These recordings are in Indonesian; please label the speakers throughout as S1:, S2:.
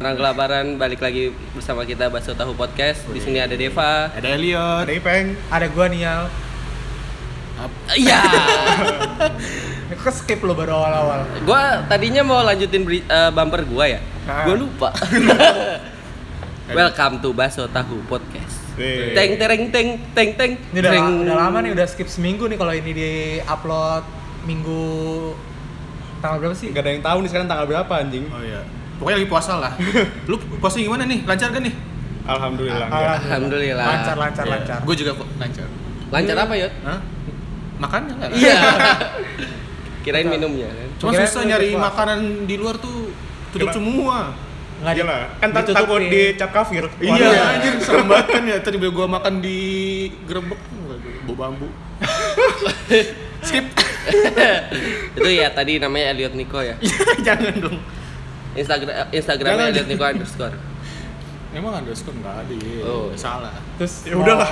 S1: orang kelaparan balik lagi bersama kita Baso Tahu Podcast. Di sini ada Deva.
S2: Ada Elliot.
S3: Ada Ipeng.
S4: Ada gua Nial.
S1: Iya.
S4: Ke skip lo baru awal-awal.
S1: gua tadinya mau lanjutin beri- eh, bumper gua ya.
S4: Ah.
S1: Gua lupa. Welcome to Baso Tahu Podcast.
S3: Wih.
S1: Teng tereng teng teng teng.
S4: Ini udah,
S1: tereng.
S4: udah lama nih, udah skip seminggu nih kalau ini di-upload minggu tanggal berapa sih?
S3: Gak ada yang tahu nih sekarang tanggal berapa anjing.
S2: Oh iya. Pokoknya lagi puasa lah. Lu puasa gimana nih? Lancar kan nih?
S3: Alhamdulillah.
S4: Ah,
S3: enggak. Iya.
S1: Alhamdulillah.
S4: Lancar, lancar, lancar.
S2: Gue juga kok lancar.
S1: Lancar apa, Yot?
S2: Hah? Makannya enggak?
S1: Iya. Kirain minumnya kan.
S2: Cuma
S4: Kirain
S2: susah
S4: lu
S2: nyari
S4: puasa.
S2: makanan di luar tuh tutup
S3: Gila.
S2: semua.
S4: Nggak di-
S3: Iyalah, kan tak
S4: ditutupin.
S3: takut dicap kafir.
S2: Iya, anjir serem banget kan ya. Tadi gue makan di Grebek, bau bambu. Skip.
S1: Itu ya tadi namanya Elliot Nico ya.
S2: Jangan dong.
S1: Instagram Instagramnya
S2: Jangan.
S1: Elliot Nico underscore.
S2: Emang ada skor enggak ada. iya.
S1: Oh.
S2: Salah.
S4: Terus
S3: Ya
S4: mau-
S3: udahlah.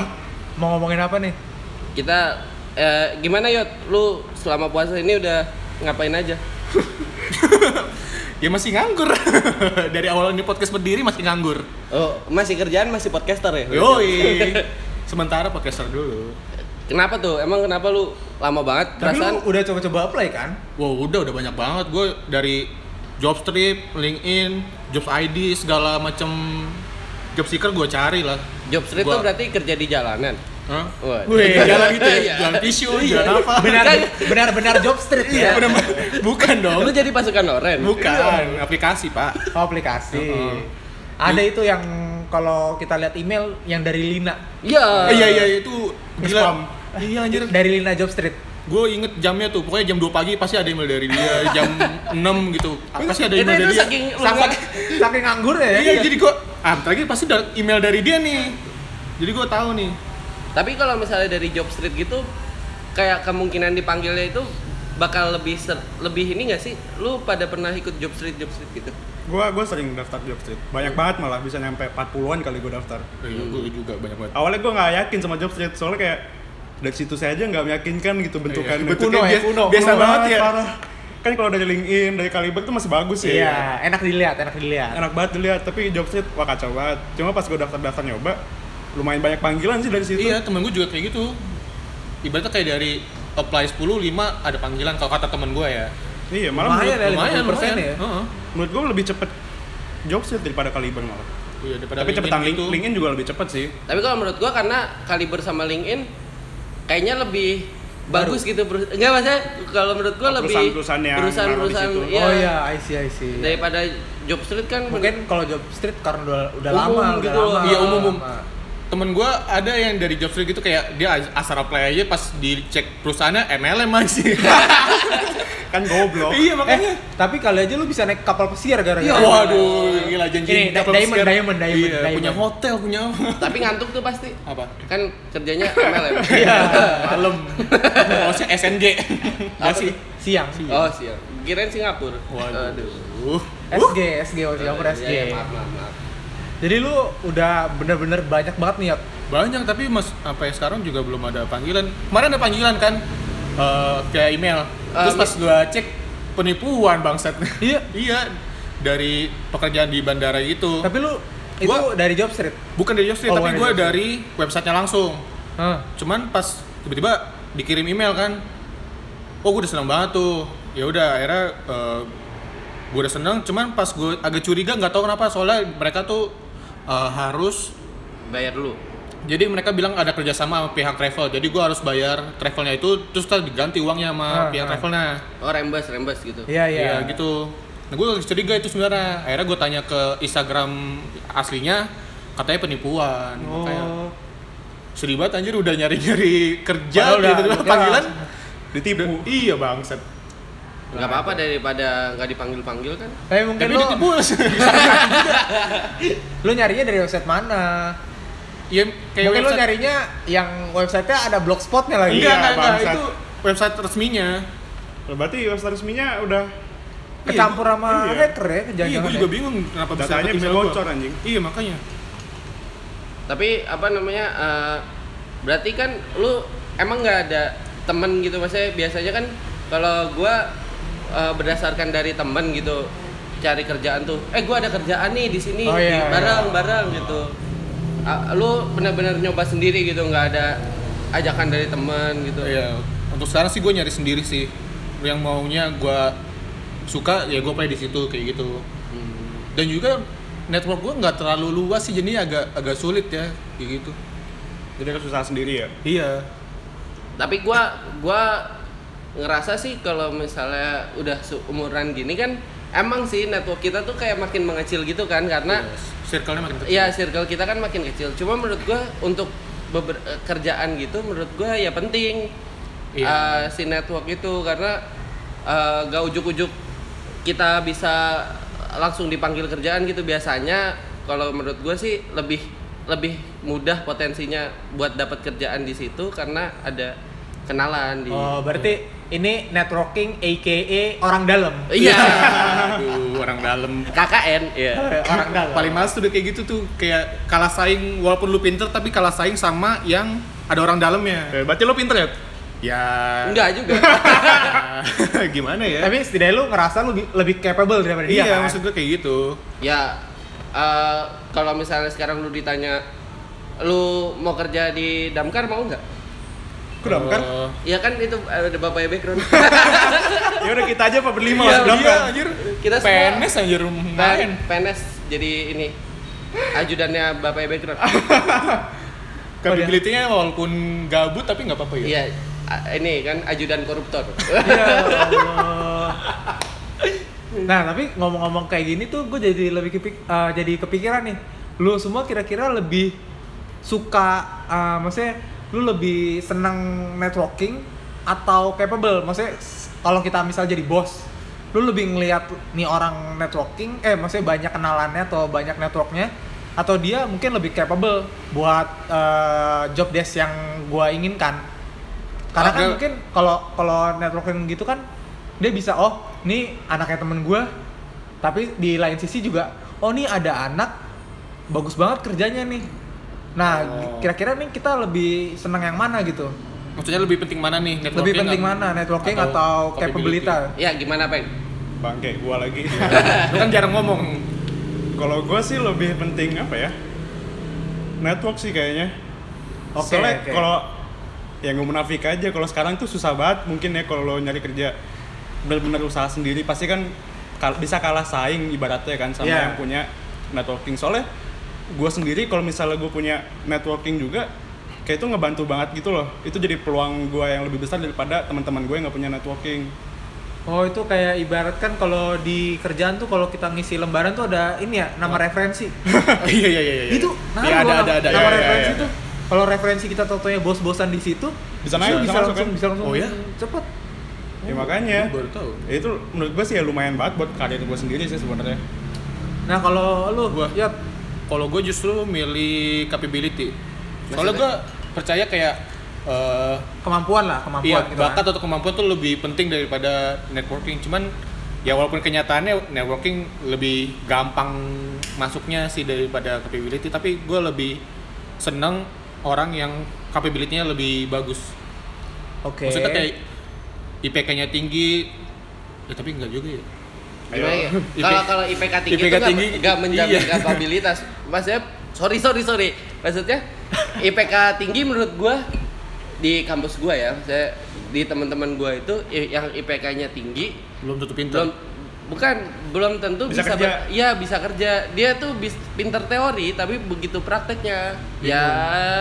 S4: Mau ngomongin apa nih?
S1: Kita eh, gimana Yot? Lu selama puasa ini udah ngapain aja?
S2: Ya masih nganggur. Dari awal ini podcast berdiri masih nganggur.
S1: Oh, masih kerjaan masih podcaster ya?
S2: Yoi. Sementara podcaster dulu.
S1: Kenapa tuh? Emang kenapa lu lama banget?
S4: Tapi
S1: Perasaan
S4: lu udah coba-coba apply kan?
S2: Wow, udah udah banyak banget gue dari Jobstrip, LinkedIn, Jobs ID, segala macam job seeker gue cari lah.
S1: job street
S2: Gua-
S1: tuh berarti kerja di jalanan.
S2: Hah?
S1: Wah.
S2: Wih, jalan gitu
S1: Iya.
S2: ya, jalan tisu, jalan apa?
S4: Benar, benar, benar job street
S2: Iya,
S4: ya.
S2: bener banget. bukan dong,
S1: Oh, Lu jadi pasukan Oren.
S2: bukan
S1: Iya.
S2: aplikasi pak.
S4: Oh, aplikasi.
S2: Heeh.
S4: Ada itu yang kalau kita lihat email yang dari Lina.
S1: Iya.
S2: Eh, Iya iya itu
S3: Spam.
S2: gila. Iya anjir.
S4: Dari Lina Job Street.
S2: Gue inget jamnya tuh, pokoknya jam 2 pagi pasti ada email dari dia, jam 6 gitu. Pasti ada
S1: Itu,
S2: email
S1: itu
S2: dari dia.
S1: saking lu
S4: Saking,
S1: nggak-
S4: saking nganggur ya.
S2: Iya, jadi gue, ah, bentar lagi pasti ada email dari dia nih. Jadi gue tahu nih.
S1: Tapi kalau misalnya dari job street gitu kayak kemungkinan dipanggilnya itu bakal lebih ser- lebih ini gak sih? Lu pada pernah ikut job street job street gitu?
S3: Gua gua sering daftar job street. Banyak banget malah bisa nyampe 40-an kali gua daftar.
S2: Iya, gue juga banyak banget.
S3: Awalnya gua nggak yakin sama job street soalnya kayak dari situ saya aja nggak meyakinkan gitu bentukannya.
S2: Iya, bentuknya
S3: bias-
S2: bias-
S3: biasa
S4: kuno
S3: banget ya.
S4: banget, parah.
S3: Kan kalau dari LinkedIn, dari Kalibag tuh masih bagus ya.
S4: Iya, enak dilihat, enak dilihat.
S3: enak banget dilihat tapi job street wah kacau banget cuma pas gue daftar daftar nyoba lumayan banyak panggilan sih dari situ
S2: Iya, temen gue juga kayak gitu. Ibaratnya kayak dari apply 10, 5 ada panggilan kalau kata temen gue ya.
S3: iya malah
S4: Lumayan
S3: menurut,
S4: ya. 50% ya?
S2: Heeh.
S3: menurut gue lebih cepet job street daripada kaliban malah
S2: Iya, daripada
S3: tapi cepetan link,
S2: itu.
S3: LinkedIn gitu. juga lebih cepet sih
S1: Tapi kalau menurut gua karena kaliber sama LinkedIn kayaknya lebih bagus gitu perus- enggak maksudnya kalau menurut gua
S3: Oh,
S1: lebih
S3: perusahaan-perusahaan yang
S1: perusahaan-perusahaan,
S3: naruh di situ.
S1: iya.
S4: Oh iya, I see, I see.
S1: daripada job street kan
S4: Mungkin kalau job street karena udah, udah
S1: Umum
S4: lama, udah
S1: gitu loh.
S4: lama. Eh,
S2: Iya, umum-umum.
S4: lama.
S2: Temen gue ada yang dari Jobstreet gitu kayak dia as- asal apply aja pas dicek perusahaannya MLM masih.
S3: kan goblok
S2: iya,
S4: Eh, tapi kali aja lu bisa naik kapal pesir gara-gara.
S1: Iya,
S2: Waduh, gila
S4: Eh, Ini,
S2: janji
S4: da-
S2: dapat
S4: diamond,
S2: sekian.
S4: diamond, diamond,
S2: Iya,
S4: diamond.
S2: Punya hotel, punya apa.
S1: tapi ngantuk tuh pasti
S2: apa?
S1: kan kerjanya MLM
S4: Iya,
S2: Malam. Bosnya SNG.
S1: Apa
S2: Masih.
S4: siang.
S1: oh siap kirain Singapura
S2: Waduh.
S1: Aduh.
S4: SG, SG, oh, Singapura SG.
S1: Iya, iya, maaf maaf maaf
S4: Jadi lu udah bener-bener banyak banget nih, Yot.
S2: Banyak tapi mas apa ya sekarang juga belum ada panggilan. Kemarin ada panggilan kan eh via email.
S4: Ah,
S2: Terus
S1: Eh,
S2: pas gua cek penipuan bangsat.
S4: Iya.
S2: iya dari pekerjaan di bandara itu.
S4: Tapi lu itu
S2: Gua-
S4: dari job street.
S2: Bukan dari Yosri,
S4: Oh,
S2: tapi
S4: bukan
S2: gua
S4: dari Yosri.
S2: dari websitenya langsung.
S4: Hah.
S2: Cuman pas tiba-tiba dikirim email kan. Oh, gua udah seneng banget tuh. Ya udah akhirnya eh, gua udah seneng, cuman pas gua agak curiga nggak tahu kenapa soalnya mereka tuh eh, harus
S1: bayar dulu
S2: jadi mereka bilang ada kerjasama sama pihak travel, jadi gua harus bayar travelnya itu, terus kita diganti uangnya sama
S4: Ah,
S2: pihak
S4: ah.
S2: travelnya.
S1: oh rembes rembes gitu
S4: Iya, iya.
S2: Iya gitu. Nah gue curiga itu sebenarnya. Akhirnya gue tanya ke Instagram aslinya, katanya penipuan. Makanya
S4: Oh.
S2: sedih banget anjir udah nyari-nyari kerja,
S4: Padahal udah-
S2: tiba-tiba
S4: udah
S2: panggilan.
S3: ditipu
S2: Iya bangset.
S1: nggak apa-apa daripada nggak dipanggil panggil kan
S4: Tapi mungkin
S2: Tapi
S4: lu,
S2: ditipu.
S4: lu nyarinya dari website mana?
S2: Iya kayak
S4: mungkin lu
S2: website.
S4: nyarinya yang websitenya ada blogspotnya lagi.
S2: Enggak,
S3: Iya,
S2: enggak, enggak,
S3: bangsat.
S2: itu website resminya.
S3: berarti website resminya udah
S4: Kecampur sama
S3: Iya.
S4: hacker ya,
S2: iya,
S4: jangan-jangan
S2: gue
S4: ya.
S2: juga bingung kenapa bisa
S3: Datanya
S2: dapet
S3: bisa
S2: email gua.
S3: bocor, anjing.
S2: Iya, makanya.
S1: tapi apa namanya eh, berarti kan lu emang nggak ada temen gitu maksudnya biasanya kan kalau gua eh, berdasarkan dari temen gitu cari kerjaan tuh eh gua ada kerjaan nih di sini
S4: Oh, iya, iya.
S1: bareng bareng gitu Ah, lu benar-benar nyoba sendiri gitu nggak ada ajakan dari teman gitu
S2: Iya. Untuk sekarang sih gue nyari sendiri sih. Yang maunya gue suka ya gue play di situ kayak gitu.
S1: Hmm.
S2: Dan juga network gue nggak terlalu luas sih jadi agak agak sulit ya kayak gitu.
S3: Jadi harus usaha sendiri ya.
S2: Iya.
S1: tapi gua gua ngerasa sih kalau misalnya udah seumuran gini kan emang sih network kita tuh kayak makin mengecil gitu kan karena
S4: Iya.
S2: Circle-nya makin kecil.
S1: ya circle kita kan makin kecil cuma menurut gua untuk beber- eh, kerjaan gitu menurut gua ya penting
S2: Iya.
S1: eh, si network itu karena eh, gak ujuk-ujuk kita bisa langsung dipanggil kerjaan gitu biasanya kalau menurut gua sih lebih lebih mudah potensinya buat dapat kerjaan di situ karena ada kenalan di
S4: Oh, berarti ini networking AKA orang dalam.
S1: iya
S2: Aduh, orang dalam.
S1: KKN ya
S4: orang dalam.
S2: Eh, Paling males tuh udah kayak gitu tuh kayak kalah saing walaupun lu pinter tapi kalah saing sama yang ada orang dalamnya.
S3: Eh, berarti lo pinter ya?
S2: Ya.
S1: enggak juga
S2: Gimana ya?
S4: Tapi setidaknya lu ngerasa lu bi- lebih capable daripada
S2: Iya,
S4: dia. kan?
S2: maksud gue kayak gitu.
S1: ya eh, kalau misalnya sekarang lu ditanya lu mau kerja di damkar mau nggak
S3: Kudam kan?
S2: Eh,
S1: ya kan itu ada bapaknya background
S3: Ya udah kita aja apa berlima
S1: Iya,
S3: mas Kudam
S2: iya,
S3: kan?
S2: anjir.
S1: Kita semua-
S2: PNS anjir
S4: Nah,
S2: main.
S1: Pen- PNS Kan? jadi ini ajudannya bapaknya background
S2: Capability-nya walaupun gabut tapi nggak apa-apa ya.
S1: iya a- ini kan ajudan koruptor
S4: Ya Allah. Nah, tapi ngomong-ngomong kayak gini tuh gue jadi lebih kepik eh, jadi kepikiran nih. Lu semua kira-kira lebih suka eh, maksudnya lu lebih senang networking atau capable? Maksudnya s- kalau kita misal jadi bos, lu lebih ngelihat nih orang networking eh maksudnya banyak kenalannya atau banyak networknya atau dia mungkin lebih capable buat eh, job desk yang gua inginkan? karena kan
S2: Agak-
S4: mungkin kalau kalau networking gitu kan dia bisa oh nih anaknya temen gue tapi di lain sisi juga oh nih ada anak bagus banget kerjanya nih nah
S2: Oh.
S4: kira-kira nih kita lebih seneng yang mana gitu
S2: Maksudnya lebih penting mana nih? Networking
S4: lebih penting
S2: atau-
S4: mana networking atau,
S2: capability?
S4: capability
S1: ya gimana peng
S3: Bangke, gua lagi.
S4: nah.
S2: Lu kan jarang ngomong.
S3: Kalau gua sih lebih penting apa ya? Network sih kayaknya.
S4: Oke,
S3: Soalnya
S4: oke.
S3: kalau ya nggak munafik aja kalau sekarang tuh susah banget mungkin ya kalau lo nyari kerja benar-benar usaha sendiri pasti kan kal- bisa kalah saing ibaratnya kan sama
S4: Iya.
S3: yang punya networking soalnya gue sendiri kalau misalnya gue punya networking juga kayak itu ngebantu banget gitu loh itu jadi peluang gue yang lebih besar daripada teman-teman gue yang nggak punya networking
S4: oh itu kayak ibarat kan kalau di kerjaan tuh kalau kita ngisi lembaran tuh ada ini ya nama referensi
S2: Iya iya iya iya.
S4: itu nah
S2: ya, ada
S4: gua
S2: ada ada.
S4: nama
S2: iya, iya,
S4: referensi
S2: iya.
S4: tuh kalau referensi kita totonya bos-bosan di situ itu
S3: Bisa
S4: bisa
S3: naik, bisa masuk,
S4: langsung
S3: kan?
S4: bisa langsung
S2: Oh, ya?
S4: cepet
S3: ya
S4: Oh,
S3: makanya
S2: Gua baru tahu.
S3: ya itu menurut gue sih ya lumayan banget buat karir gue sendiri sih sebenarnya
S4: Nah kalau lu, ya,
S2: Gua.
S4: Yot,
S2: Kalau gue justru milih capability. Soalnya
S1: Maksudnya?
S2: gue percaya kayak eh,
S4: kemampuan lah, kemampuan
S2: iya,
S4: gitu
S2: bakat
S4: kan.
S2: atau kemampuan tuh lebih penting daripada networking. Cuman ya walaupun kenyataannya networking lebih gampang masuknya sih daripada capability, tapi gue lebih seneng orang yang capability-nya lebih bagus.
S4: Oke.
S2: Maksudnya kayak IPK-nya tinggi, ya tapi enggak juga ya.
S1: Gimana ya?
S2: IP
S1: kalau kalau IPK tinggi
S2: IPK
S1: itu nggak-
S2: tinggi,
S1: nggak menjamin
S2: iya.
S1: kapabilitas maksudnya sorry sorry sorry maksudnya IPK tinggi menurut gua di kampus gua ya saya di teman-teman gua itu i- yang IPK-nya tinggi
S2: Belum tutup pintu.
S1: belum bukan belum tentu
S3: Bisa
S1: bisa,
S3: kerja.
S1: ber- iya bisa kerja dia tuh bis, pinter teori tapi begitu prakteknya ya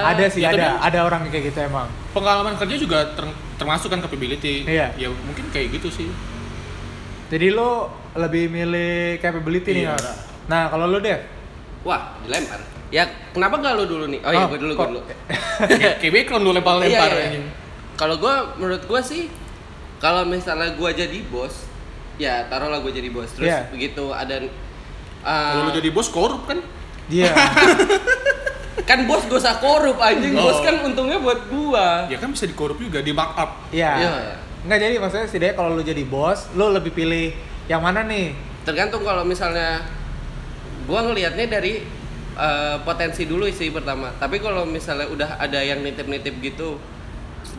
S4: ada sih,
S2: Itu
S4: ada,
S2: kan-
S4: ada orang yang kayak gitu emang.
S2: Pengalaman kerja juga ter- termasuk kan capability.
S4: Iya.
S2: Ya mungkin kayak gitu sih.
S4: Jadi lu lebih milih capability nih
S2: Iya.
S4: Yot. Nah kalau lu Dev,
S1: wah dilempar ya kenapa nggak lu dulu nih oh, iya
S4: Oh,
S1: gua dulu gua
S4: kok-
S1: dulu
S2: kayak kayak background lu lempar-lempar
S1: Iya, iya, iya.
S2: anjing.
S1: Kalau gua menurut gua sih kalau misalnya gua jadi bos, ya taruhlah gua jadi bos terus
S4: Iya.
S1: begitu ada
S2: Kalau
S4: Ah.
S1: uh,
S2: lu jadi bos korup kan?
S4: dia
S1: kan bos gak usah korup anjing, bos
S2: Oh.
S1: kan untungnya buat
S4: Ah.
S1: gua.
S2: Ya kan bisa dikorup juga di markup.
S4: Iya.
S1: Iya.
S4: Nggak jadi maksudnya setidaknya kalau lu jadi bos, lu lebih pilih yang mana nih?
S1: Tergantung kalau misalnya gua ngelihatnya dari uh, potensi dulu sih pertama. Tapi kalau misalnya udah ada yang nitip-nitip gitu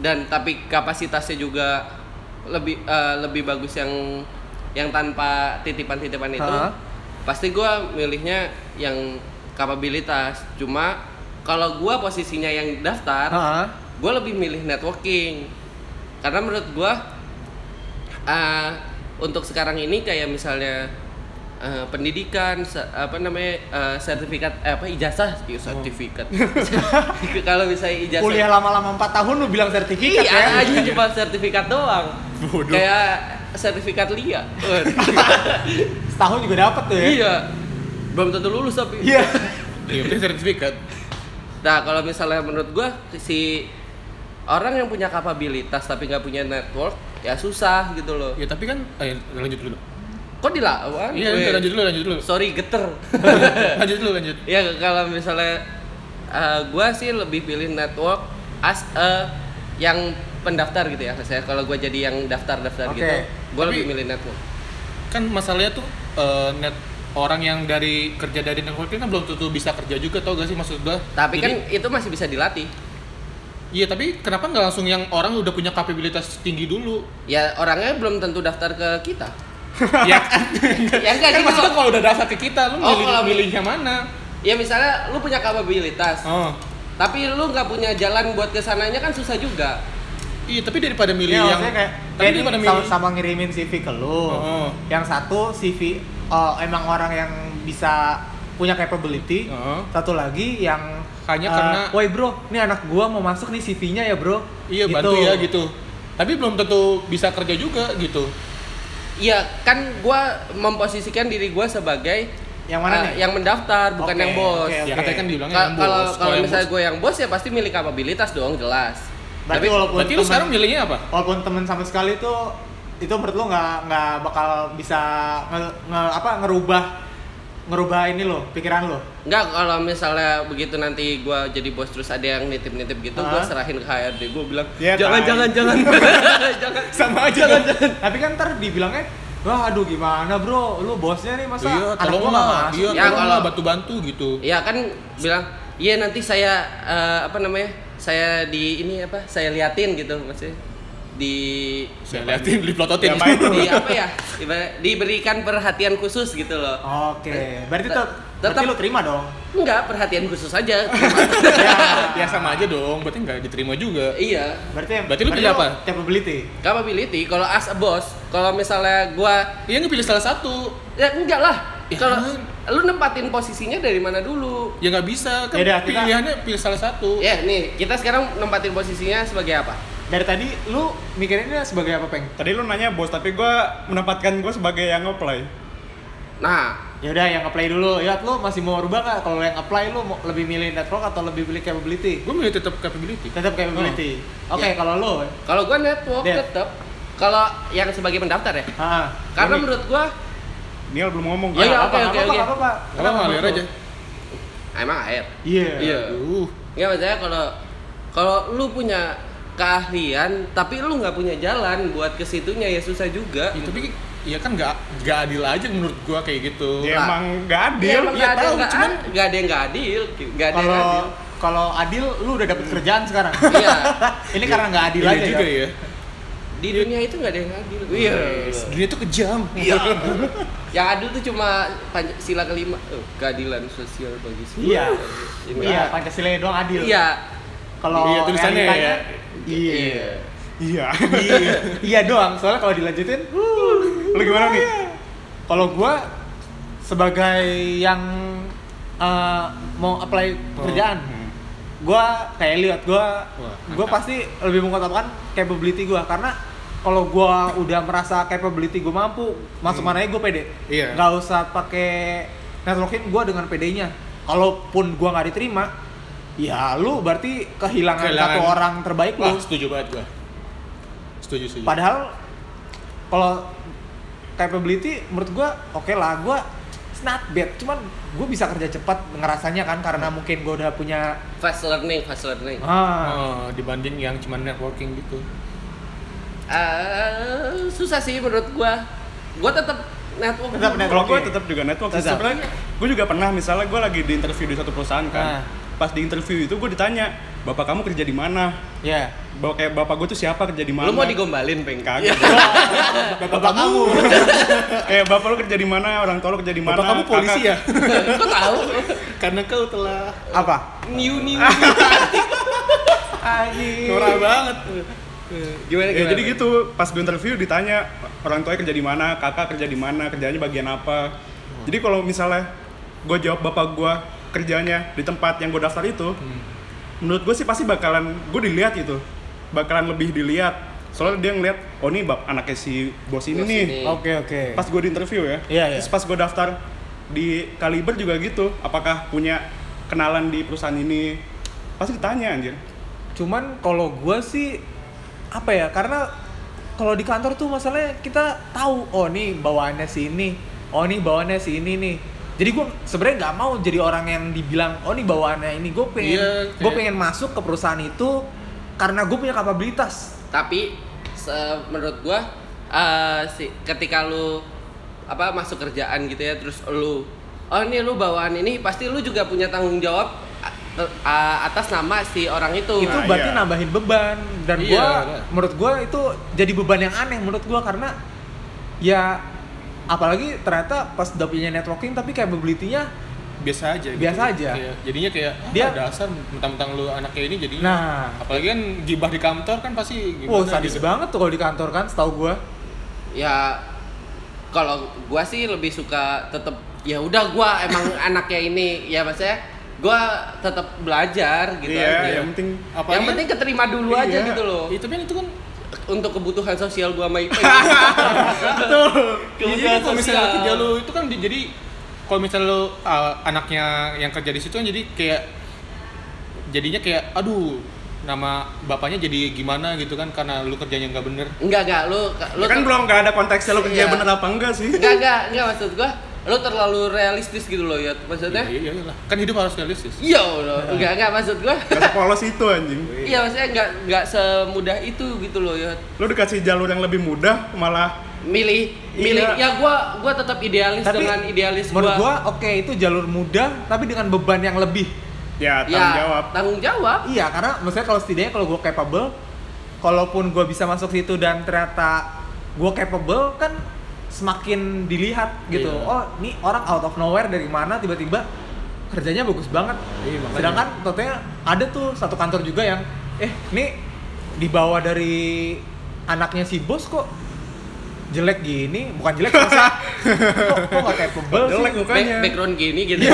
S1: dan tapi kapasitasnya juga lebih uh, lebih bagus eh, yang yang tanpa titipan-titipan itu
S4: Ha?
S1: pasti gua milihnya yang kapabilitas cuma kalau gua posisinya yang daftar
S4: Heeh.
S1: gue lebih milih networking karena menurut gue ah, untuk sekarang ini kayak misalnya eh, pendidikan se- apa namanya eh, sertifikat eh, apa ijazah Iya, sertifikat kalau misalnya
S2: Iya,
S1: ijazah
S4: Oh. Kuliah lama-lama 4 tahun lu bilang sertifikat
S1: Iya,
S4: ya.
S1: anjing cuma sertifikat doang kayak sertifikat lia
S4: Setahun juga dapat tuh ya.
S1: iya belum tentu lulus tapi
S4: Iya.
S2: Iya, penting sertifikat.
S1: Nah kalau misalnya menurut gua si orang yang punya kapabilitas tapi nggak punya network ya susah gitu loh.
S2: Ya tapi kan, eh, lanjut dulu.
S1: Kok dilawan? Weh.
S2: Iya, lanjut, lanjut dulu, lanjut dulu.
S1: Sorry geter.
S2: lanjut dulu, lanjut.
S1: ya kalau misalnya eh, gua sih lebih pilih network as a yang pendaftar gitu ya. Saya kalau gua jadi yang daftar-daftar
S4: Oke.
S1: gitu, gua
S2: Tapi-
S1: lebih milih network.
S2: Kan masalahnya tuh eh, net orang yang dari kerja dari networking kan belum tentu bisa kerja juga tau gak sih maksud gua?
S1: Tapi
S2: Jadi-
S1: kan itu masih bisa dilatih.
S2: Iya, tapi kenapa nggak langsung yang orang udah punya kapabilitas tinggi dulu?
S1: Ya orangnya belum tentu daftar ke kita.
S2: ya kan?
S1: ya enggak
S2: kan
S1: gitu.
S2: maksudnya kalau udah daftar ke kita, lu
S1: Oh,
S2: milih,
S1: kalau-
S2: milihnya mana?
S1: Ya misalnya lu punya kapabilitas,
S2: Oh.
S1: tapi lu nggak punya jalan buat kesananya kan susah juga
S2: Iya, tapi daripada milih
S4: Iya,
S2: yang
S4: maksudnya kayak,
S2: tapi
S4: kayak
S2: daripada
S4: ini
S2: milih
S4: sama, sama ngirimin CV ke lu.
S2: Oh.
S4: Yang satu CV oh, emang orang yang bisa punya capability.
S2: Oh.
S4: Satu lagi yang
S2: Hanya
S4: eh,
S2: karena-
S4: woi bro, ini anak gua mau masuk nih CV-nya ya, bro.
S2: Iya, bantu ya gitu. Tapi belum tentu bisa kerja juga gitu.
S1: Iya kan gua memposisikan diri gua sebagai
S4: Yang mana
S1: eh,
S4: nih?
S1: yang mendaftar bukan
S4: Oke,
S1: yang bos
S4: oke,
S2: Ya
S4: oke.
S2: katanya kan dibilangnya
S1: Ka-
S2: yang bos.
S1: kalau kalau
S2: yang
S1: misalnya
S2: bos-
S1: gua yang bos ya pasti milik kapabilitas dong jelas
S4: Berarti
S1: tapi
S4: walaupun
S2: Berarti lu
S4: temen-
S2: sekarang milihnya apa?
S4: walaupun temen sama sekali itu itu menurut lo nggak nggak bakal bisa nge, nge- apa ngerubah ngerubah ini lo pikiran lo
S1: nggak kalau misalnya begitu nanti gua jadi bos terus ada yang nitip nitip gitu gua
S4: Hah?
S1: serahin ke HRD gua bilang
S3: Ya,
S1: jangan,
S3: tai.
S1: jangan jangan jangan
S4: sama aja tapi kan ntar dibilangnya wah aduh gimana bro lu bosnya nih masa
S2: Iya,
S4: anak gua nggak
S2: tolonglah.
S4: masuk
S2: Iya,
S1: Ya,
S2: tolonglah
S1: kalau-
S2: bantu-bantu gitu.
S1: Iya kan bilang iya nanti saya eh, apa namanya saya di ini apa saya liatin gitu maksudnya di
S2: Saya liatin di plototin.
S3: Siapa itu?
S1: di apa ya Ibarat- diberikan perhatian khusus gitu loh
S4: oke berarti tuh
S1: Tet-
S4: berarti
S1: tetap-
S4: lo terima dong
S1: enggak perhatian khusus aja
S4: ya
S2: Ya sama aja dong, berarti nggak diterima juga.
S1: iya
S4: berarti
S2: Berarti lu pilih apa?
S4: capability
S1: capability kalau as a boss kalau misalnya gua
S2: Iya ngepilih salah satu.
S1: ya enggak lah
S2: Ya
S1: kalau
S2: kan.
S1: lu nempatin posisinya dari mana dulu
S2: Ya nggak bisa kan
S4: Ya udah, kita-
S2: pilihannya pilih salah satu.
S1: ya nih kita sekarang nempatin posisinya sebagai apa
S4: dari tadi lu mikirinnya sebagai apa peng
S3: Tadi lu nanya bos, tapi gua menempatkan gua sebagai yang apply.
S1: nah
S4: ya udah yang apply dulu ya lu masih mau rubah nggak kalau yang apply lu mau lebih milih network atau lebih pilih capability
S2: Gue milih tetap capability.
S4: tetap
S1: Oh,
S4: capability. Oke,
S1: Ya.
S4: kalau lo,
S1: kalau gua network
S4: Dev.
S1: tetap kalau yang sebagai pendaftar ya
S4: heeh.
S1: karena
S3: Ini-
S1: menurut gua
S3: Niel belum ngomong. kan?
S1: Ya, oke,
S4: Iya, apa
S1: oke,
S4: apa
S1: oke.
S4: apa apa.
S2: Apa ngalir aja?
S1: ah, emang air
S4: Iya.
S1: Iya.
S2: Aduh.
S1: Nggak maksudnya kalau kalau lu punya keahlian tapi lu nggak punya jalan buat ke situnya ya susah juga.
S2: Ya, tapi ya kan nggak nggak adil aja menurut gua kayak gitu.
S3: Ya emang gak
S1: Ya,
S3: adil.
S1: emang
S2: iya
S1: nggak ada
S2: tahu,
S1: nggak
S2: cuman-
S1: ad- nggak ada yang nggak adil, nggak ada yang
S4: Kalau
S1: adil.
S4: kalau adil lu udah dapet kerjaan sekarang.
S1: Iya,
S4: Ini karena nggak adil
S2: Iya
S4: aja
S2: juga
S4: ya.
S2: ya.
S1: di dunia itu nggak ada yang adil. Iya.
S2: Dunia tuh kejam.
S1: Yang adil tuh cuma panj- sila kelima Eh, keadilan sosial bagi semua.
S4: Iya.
S1: Ini.
S4: Iya, Pancasila doang adil.
S1: Iya.
S4: Kalau
S2: Iya, tulisannya ya.
S4: realitanya, Iya.
S3: Iya.
S4: Iya. Iya doang. Soalnya kalau dilanjutin, wuh.
S3: Lu gimana nih?
S4: kalau gua sebagai yang eh, mau apply kerjaan,
S3: Hmm.
S4: gua kayak lihat gua
S2: Oh, Wah,
S4: gua pasti lebih mengutamakan capability gua karena kalau gua udah merasa capability gua mampu masuk mana aja gua pede
S2: Hmm. Iya.
S4: nggak usah pakai networking gua dengan pedenya kalaupun gua nggak diterima ya lu berarti kehilangan,
S2: Kehilangan.
S4: satu orang terbaik
S2: Wah,
S4: lu
S2: setuju banget gua. Setuju, setuju.
S4: padahal kalau capability menurut gua oke lah gua it's not bad cuman gua bisa kerja cepat ngerasanya kan karena mungkin gua udah punya
S1: Fast learning, fast learning.
S4: ah,
S2: Oh, dibanding yang cuman networking gitu.
S1: Eh, susah sih menurut gua. Gua tetap network. ya.
S4: Tetap
S1: dulu.
S4: network.
S3: Kalau gue
S4: Oke.
S3: tetap juga network sih
S4: Tetap.
S3: sebenarnya. Gue juga pernah misalnya gue lagi di interview di satu perusahaan
S4: Ah.
S3: kan. pas di interview itu gue ditanya bapak kamu kerja di mana
S4: Ya.
S3: bapak kayak bapak gue tuh siapa kerja di
S1: Lu
S3: mana
S1: mau digombalin, Peng?
S3: kagak
S2: Iya. Bapak, kamu.
S3: kayak bapak lu kerja di mana orang tua lu kerja di mana
S2: Bapak kamu polisi ya?
S1: Kok tahu?
S2: Karena kau telah
S4: Apa?
S1: New new.
S4: Aji.
S2: Norak banget.
S1: Gimana
S3: Ya, jadi gitu, pas gue interview ditanya orang tuanya kerja di mana, kakak kerja di mana, kerjanya bagian apa.
S1: Hmm.
S3: Jadi kalau misalnya gue jawab bapak gue kerjanya di tempat yang gue daftar itu,
S1: Hmm.
S3: menurut gue sih pasti bakalan gue dilihat itu, bakalan lebih dilihat. Soalnya dia ngeliat, oh ini bab anaknya si bos ini
S1: Bos
S3: nih.
S1: ini.
S4: Oke oke.
S3: Pas gue di interview ya,
S4: Iya, iya.
S3: terus pas gue daftar di Kaliber juga gitu, apakah punya kenalan di perusahaan ini? Pasti ditanya anjir.
S4: Cuman kalau gua sih apa ya? Karena kalau di kantor tuh masalahnya kita tahu oh nih bawaannya si ini, oh nih bawaannya si ini nih. Jadi gua sebenarnya nggak mau jadi orang yang dibilang oh nih bawaannya ini. Gue pengen
S2: Iya,
S4: gua
S2: kayak-
S4: pengen masuk ke perusahaan itu karena gue punya kapabilitas.
S1: tapi se- menurut gua eh, si ketika lu apa masuk kerjaan gitu ya terus lu oh ini lu bawaan ini pasti lu juga punya tanggung jawab a- ter- a- atas nama si orang itu
S4: itu
S3: Nah,
S4: berarti
S3: iya.
S4: nambahin beban dan
S2: Iya,
S4: gua
S2: benar.
S4: menurut gua itu jadi beban yang aneh menurut gua karena ya apalagi ternyata pas udah punya networking tapi capability-nya
S2: Biasa aja. gitu.
S4: Biasa aja.
S2: Iya, Jadinya kayak dia
S4: Dia-
S2: dasar mentang-mentang lu anaknya ini jadinya.
S4: Nah.
S2: apalagi kan gibah di kantor kan pasti
S4: wow
S2: gimana
S4: sadis
S2: gitu.
S4: banget tuh kalau di kantor kan setahu gua
S1: ya kalau gua sih lebih suka tetap ya udah gua emang anaknya ini ya maksudnya gua tetap belajar gitu
S3: Iya,
S1: aja.
S3: yang penting
S2: Apalagi
S1: yang
S2: kan-
S1: penting keterima dulu
S3: Iya.
S1: aja gitu loh
S2: Itu kan itu kan
S1: untuk kebutuhan sosial gua sama IP
S2: Betul. Jadi
S1: Kemudian
S2: kalau misalnya
S1: sosial.
S2: kerja lu itu kan di- jadi kalau misalnya lu uh, anaknya yang kerja di situ kan jadi kayak jadinya kayak aduh nama bapaknya jadi gimana gitu kan karena lu kerjanya nggak bener.
S1: enggak enggak lu lu
S3: Ya kan belum nggak ada konteksnya lo kerja
S1: Iya.
S3: bener apa enggak sih?
S1: Enggak, enggak, enggak maksud gua lu terlalu realistis gitu loh ya maksudnya
S2: Iya, iya, iya lah. Kan hidup harus realistis.
S1: iya loh enggak, enggak maksud gua
S3: Gak sepolos itu anjing.
S1: iya maksudnya enggak, enggak semudah itu gitu loh ya
S3: Lo dikasih jalur yang lebih mudah malah
S1: milih milih
S3: Iya.
S1: ya gua gua tetap idealis
S4: tapi
S1: dengan idealis
S4: menurut
S1: gua,
S4: gua oke itu jalur mudah tapi dengan beban yang lebih
S3: ya tanggung
S1: ya
S3: jawab.
S1: tanggung jawab
S4: iya karena maksudnya kalau setidaknya kalau gua capable kalaupun gua bisa masuk situ dan ternyata gua capable kan semakin dilihat gitu
S2: Iya.
S4: oh ini orang out of nowhere dari mana tiba-tiba kerjanya bagus banget
S2: Iya, makanya.
S4: sedangkan totalnya ada tuh satu kantor juga yang eh ini dibawa dari anaknya si bos kok jelek gini bukan jelek masa kok kok gak capable sih
S3: Jelek
S1: Back-
S3: mukanya. Iya.
S1: background gini gitu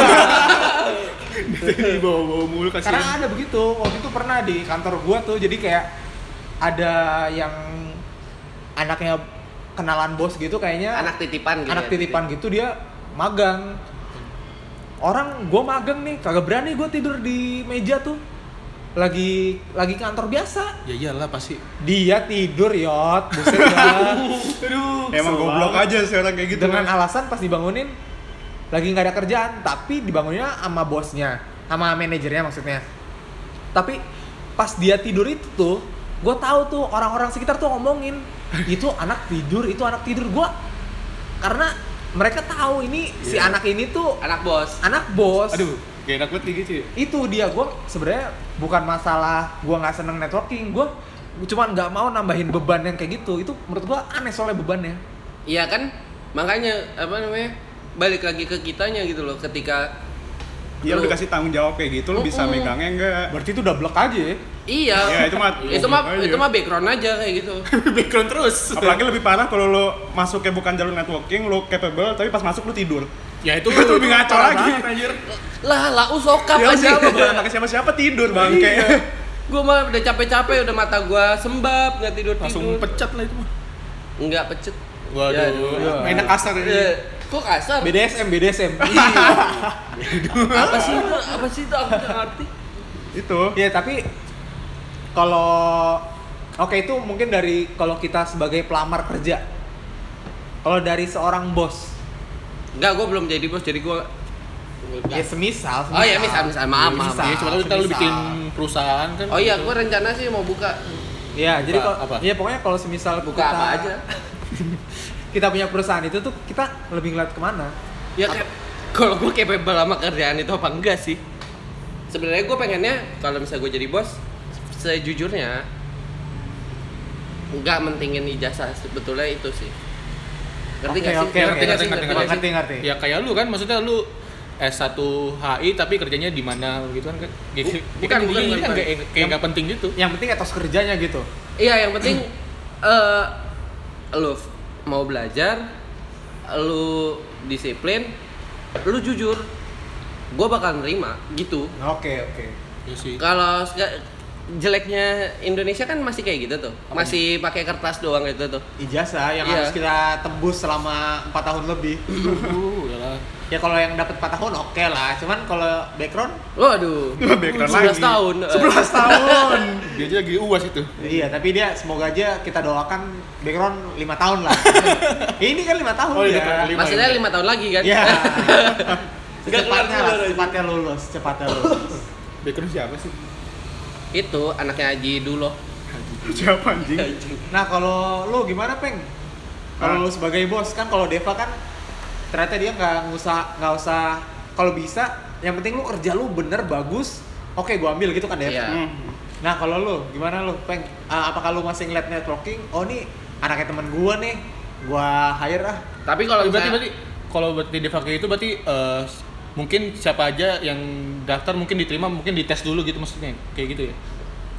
S3: Jadi bawa-bawa mulu
S4: karena
S3: kasihan.
S4: ada begitu waktu itu pernah di kantor gua tuh jadi kayak ada yang anaknya kenalan bos gitu kayaknya
S1: anak titipan gitu ya,
S4: anak titipan gitu dia magang orang gua magang nih kagak berani gua tidur di meja tuh lagi lagi kantor biasa
S2: Ya iyalah pasti.
S4: dia tidur yot buset dah.
S2: Aduh.
S3: Emang goblok aja sih orang kayak gitu.
S4: dengan alasan pas dibangunin lagi nggak ada kerjaan tapi dibangunnya sama bosnya sama manajernya maksudnya tapi pas dia tidur itu tuh gue tahu tuh orang-orang sekitar tuh ngomongin itu anak tidur itu anak tidur gue karena mereka tahu ini si anak ini tuh
S1: anak bos
S4: anak bos
S2: Aduh, kayak enak banget gitu ya.
S4: itu dia gue sebenarnya bukan masalah gue nggak seneng networking gue cuman nggak mau nambahin beban yang kayak gitu itu menurut gue aneh soalnya bebannya
S1: Iya kan? Makanya apa namanya? Balik lagi ke kitanya gitu loh ketika
S3: Ya lo dikasih tanggung jawab kayak gitu lo bisa
S1: Mm-mm.
S3: megangnya enggak?
S4: berarti itu udah blek aja ya
S1: Iya.
S3: Ya, itu mah-
S1: itu mah
S3: makanya.
S1: itu mah background aja kayak gitu.
S2: Background terus.
S3: Apalagi lebih parah kalau lo masuknya bukan jalur networking, lo capable tapi pas masuk lo tidur.
S2: ya itu
S3: Itu lebih ngaco
S2: parah
S3: lagi.
S2: banget, anjir.
S1: lah, lau sokap
S3: Ya
S1: aja.
S3: siapa bukan anaknya siapa-siapa tidur bangke.
S1: gua mah udah capek-capek, udah mata gua sembab, nggak tidur tidur.
S2: Langsung pecat lah itu mah.
S1: Nggak pecet.
S2: Waduh.
S1: Ya, aduh.
S4: iya.
S2: Enak kasar
S1: Eh,
S2: ini.
S1: kok kasar?
S4: BDSM BDSM
S1: Apa sih itu? Apa sih itu? Aku nggak ngerti.
S3: Itu.
S4: ya tapi kalau oke itu mungkin dari kalau kita sebagai pelamar kerja kalau dari seorang bos
S1: Enggak, gua belum jadi bos, jadi gua
S4: ya semisal,
S1: Oh, ya, misal, misal. Maaf, maaf.
S2: Ya, coba lu- kita lu bikin perusahaan kan.
S1: Oh iya, gua rencana sih mau buka
S4: ya jadi
S2: Apa-
S4: kalau
S2: apa?
S4: ya pokoknya kalau semisal
S1: buka
S4: kita,
S1: apa aja.
S4: kita punya perusahaan itu tuh kita lebih ngeliat kemana
S1: Ya kayak kalau gua capable sama kerjaan itu apa enggak sih? sebenarnya gue pengennya kalau misalnya gue jadi bos sejujurnya nggak mentingin ijazah sebetulnya itu sih ngerti nggak
S4: Oke,
S1: sih
S4: oke,
S1: ngerti
S4: oke.
S1: nggak sih
S2: Ngerti,
S1: nggak
S4: ngerti,
S1: sih?
S4: ngerti.
S2: Ya kayak lu kan, maksudnya lu S1 HI tapi kerjanya di mana gitu kan? Gitu.
S1: bukan,
S2: kan
S1: bukan,
S2: jadinya kan
S1: bukan.
S2: nggak- kayak nggak penting gitu.
S4: Yang penting atas kerjanya gitu.
S1: Iya, yang penting eh lu f- mau belajar, lu disiplin, lu jujur. Gue bakal nerima gitu.
S4: Oke, oke.
S2: Iya sih.
S1: Kalau nggak- jeleknya Indonesia kan masih kayak gitu tuh. Masih pakai kertas doang gitu tuh.
S4: Ijazah yang
S1: Iya.
S4: harus kita tembus selama 4 tahun lebih.
S2: Uh, yalah.
S4: ya kalau yang dapat 4 tahun oke lah. Cuman kalau background
S1: Waduh.
S3: Background
S1: 11
S3: lagi.
S1: tahun. eh.
S4: 11 tahun.
S2: Dia aja lagi uas itu.
S4: iya, tapi dia semoga aja kita doakan background 5 tahun lah. ini kan 5 tahun
S2: Oh,
S4: ya.
S2: iya, kan, lima.
S1: Maksudnya 5 tahun lagi kan?
S4: Iya.
S1: Nggak kelar
S4: Secepatnya lah, secepatnya lulus, secepatnya lulus.
S2: Background siapa sih?
S1: Itu anaknya Aji dulu.
S3: Siapa anjing?
S4: Nah kalau lu gimana peng?
S3: Ah.
S4: Kalau lu sebagai bos kan kalau Deva kan ternyata dia nggak usah nggak usah kalau bisa yang penting lu kerja lu bener bagus oke gua ambil gitu kan Dev.
S1: Iya.
S3: Hmm.
S4: Nah kalau lu gimana lu peng? Ah, apakah lu masih ngeliat networking? Oh nih anaknya temen gua nih gua hire ah.
S1: Tapi kalau
S2: berarti
S1: misalnya
S2: berarti kalau berarti Devake itu berarti eh, s- mungkin siapa aja yang daftar mungkin diterima mungkin dites dulu gitu maksudnya kayak gitu ya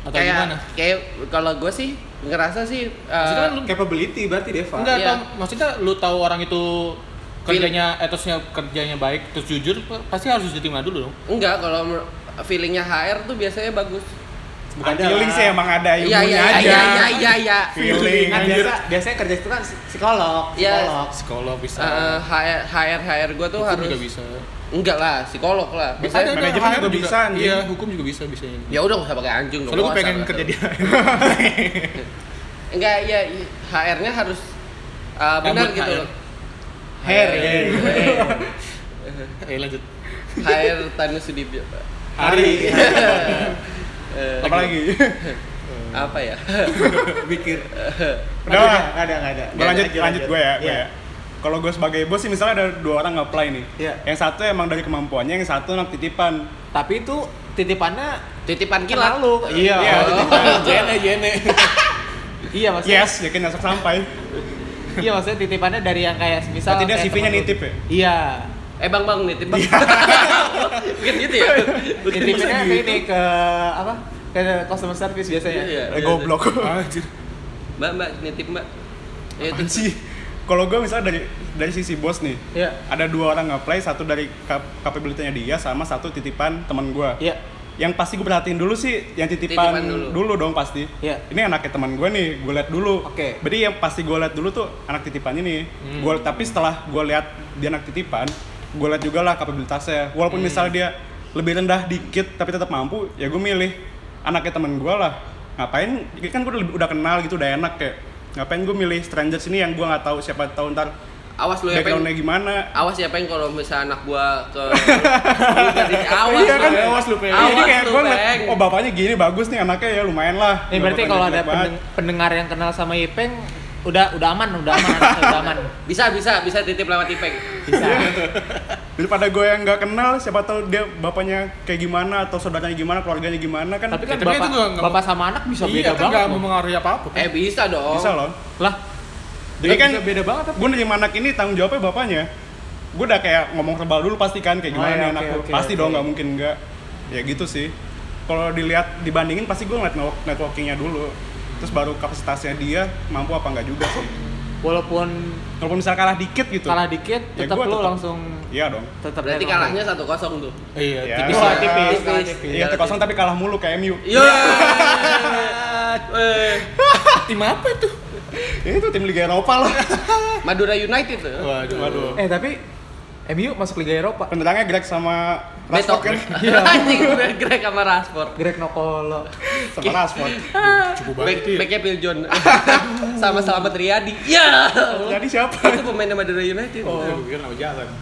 S2: atau
S1: kayak
S2: gimana?
S1: kayak kalau gue sih ngerasa sih eh,
S2: Maksudnya kan lu
S4: Capability berarti Deva.
S2: enggak
S1: Iya.
S2: tau, maksudnya lu tahu orang itu kerjanya etosnya kerjanya baik terus jujur pa- pasti harus diterima dulu dong.
S1: Enggak, kalau mer- feelingnya HR tuh biasanya bagus.
S3: Bukan
S4: Ada.
S3: Ah, feeling sih emang ada
S1: Iya
S3: ilmunya
S1: iya
S3: aja.
S1: iya iya iya iya.
S3: Feeling
S4: Kan
S3: anjir.
S4: biasa, biasanya kerja itu kan psikolog,
S1: Iya.
S4: psikolog.
S2: Psikolog bisa.
S1: Eh, HR HR HR gue tuh
S2: hukum
S1: harus
S2: juga bisa.
S1: enggak lah psikolog lah.
S2: Bisa ada,
S1: Biasanya
S2: ada,
S3: manajemen
S2: HR
S3: juga bisa, anjing.
S2: Iya, hukum juga bisa bisa.
S1: ya udah gak usah pakai anjing dong.
S2: Soalnya gue
S1: nggak
S2: pengen
S1: usah,
S2: kerja di
S1: nggak usah. Enggak ya HR-nya harus eh, benar
S2: Rambut
S1: gitu
S2: HR.
S1: loh.
S4: Hair.
S2: Eh lanjut.
S1: HR Tanu Sudibyo.
S4: Hari.
S1: Eh,
S3: Apalagi?
S1: apa ya?
S4: Pikir.
S3: Udah lah.
S4: Nggak ada, nggak ada.
S3: Gue lanjut,
S4: Lanjut,
S3: lanjut gue ya. gua
S4: Iya.
S3: ya. Kalau gue sebagai bos sih misalnya ada dua orang nge-apply nih.
S4: Iya.
S3: Yang satu emang dari kemampuannya, yang satu anak titipan.
S4: Tapi itu titipannya
S1: Titipan
S4: kenal
S1: kilat. Oh.
S4: lu. Iya.
S3: Iya,
S4: titipan.
S2: Jene jene.
S4: Iya maksudnya.
S3: Yes, yakin asap sampai.
S4: Iya maksudnya titipannya dari yang kayak misal.
S3: Berarti dia
S4: kayak
S3: CV-nya
S4: temen lu.
S3: nitip ya?
S4: Iya.
S1: Eh Bang Bang nitip Bang. Bukan gitu ya?
S4: Titipannya ke ini ke apa? Ke customer service biasanya.
S1: Iya.
S3: Eh, goblok.
S2: Anjir.
S1: Mbak, Mbak, nitip Mbak. Ya,
S3: Apaan sih? Kalau gue misalnya dari dari sisi bos nih,
S4: Iya.
S3: ada dua orang nge-apply, satu dari cap- capability-nya dia, sama satu titipan teman gue.
S4: Iya.
S3: Yang pasti gue perhatiin dulu sih, yang titipan,
S1: Titipan dulu.
S3: dulu. dong pasti.
S4: Iya.
S3: Ini anaknya teman gue nih, gue liat dulu.
S4: Oke.
S3: Berarti yang pasti gue liat dulu tuh anak titipannya nih.
S1: Hmm.
S3: Gua, tapi setelah gue liat dia anak titipan, gue liat juga lah kapabilitasnya. Walaupun
S1: Hmm.
S3: misalnya dia lebih rendah dikit tapi tetap mampu, ya gue milih anaknya teman gue lah. Ngapain? Kan gue udah, udah kenal gitu, udah enak kayak. Ngapain gue milih stranger sini yang gue nggak tahu siapa tahu ntar
S1: Awas lu ya, Peng.
S3: backgroundnya gimana?
S1: Awas ya Peng kalau misalnya anak gua ke Lu tadi awas.
S3: iya kan,
S1: lu.
S3: awas lu
S1: Awas
S3: Jadi kayak
S1: lu,
S3: gue ngeliat,
S1: Peng.
S3: oh bapaknya gini bagus nih anaknya ya lumayan
S4: Ini
S3: lah. Nggak
S4: berarti
S3: bakal
S4: kalau ada
S3: jelek-jelek banget.
S4: pendeng- pendengar yang kenal sama Ipeng udah udah aman, udah aman, anaknya udah aman.
S1: Bisa, bisa, bisa titip lewat Ipeng.
S4: Bisa.
S3: daripada gue yang nggak kenal siapa tahu dia bapaknya kayak gimana atau saudaranya gimana keluarganya gimana kan
S4: Tapi kan
S2: Ya, tapi itu
S4: bapak,
S2: gua nggak-
S4: bapak sama anak bisa
S2: iya,
S4: beda
S2: kan
S4: banget.
S2: nggak
S4: loh.
S2: mempengaruhi apa-apa. kan?
S1: Eh bisa dong.
S3: bisa loh
S4: Lah,
S3: jadi
S4: nggak
S3: kan
S4: Oh. bisa beda banget tapi.
S3: gue nerima anak ini tanggung jawabnya bapaknya gue udah kayak ngomong verbal dulu pasti kan kayak
S4: Oh,
S3: gimana
S4: iya,
S3: nih
S4: oke,
S3: anak gue
S4: oke,
S3: pasti
S4: oke.
S3: dong nggak mungkin nggak ya gitu sih kalau dilihat dibandingin pasti gue ngeliat network- networkingnya dulu terus baru kapasitasnya dia mampu apa nggak juga sih
S4: Walaupun
S3: walaupun misalnya kalah dikit gitu
S4: kalah dikit,
S3: Ya,
S4: tetap
S3: gua
S4: lu
S3: tetap-
S4: langsung
S3: iya dong
S4: tetap
S1: Berarti
S4: networking.
S1: kalahnya 1-0 tuh.
S2: Iya,
S3: Ya.
S2: tipis.
S4: Wah,
S3: Bisa.
S4: tipis, Iya.
S1: Tipis.
S4: kalah tipis.
S3: iya
S1: Iya,
S3: kosong tapi kalah mulu kayak MU
S1: Yo. Eh.
S2: Tim apa itu?
S3: ya itu tim Liga Eropa lah
S1: Madura United tuh.
S2: Waduh.
S3: waduh
S4: Eh tapi MU masuk Liga Eropa.
S3: penyerangnya Greg sama Rashford
S1: Betok.
S3: kan
S1: Iya. Anjing Greg sama Rashford.
S4: Greg Nokolo.
S3: sama Rashford
S2: Cukup
S1: Back,
S2: banget itu ya.
S1: backnya Phil John sama Selamat Riyadi. Ya.
S3: jadi siapa
S1: Itu pemain Madura United.
S3: Oh,
S2: Gue pikir nama jalan.
S1: Oh.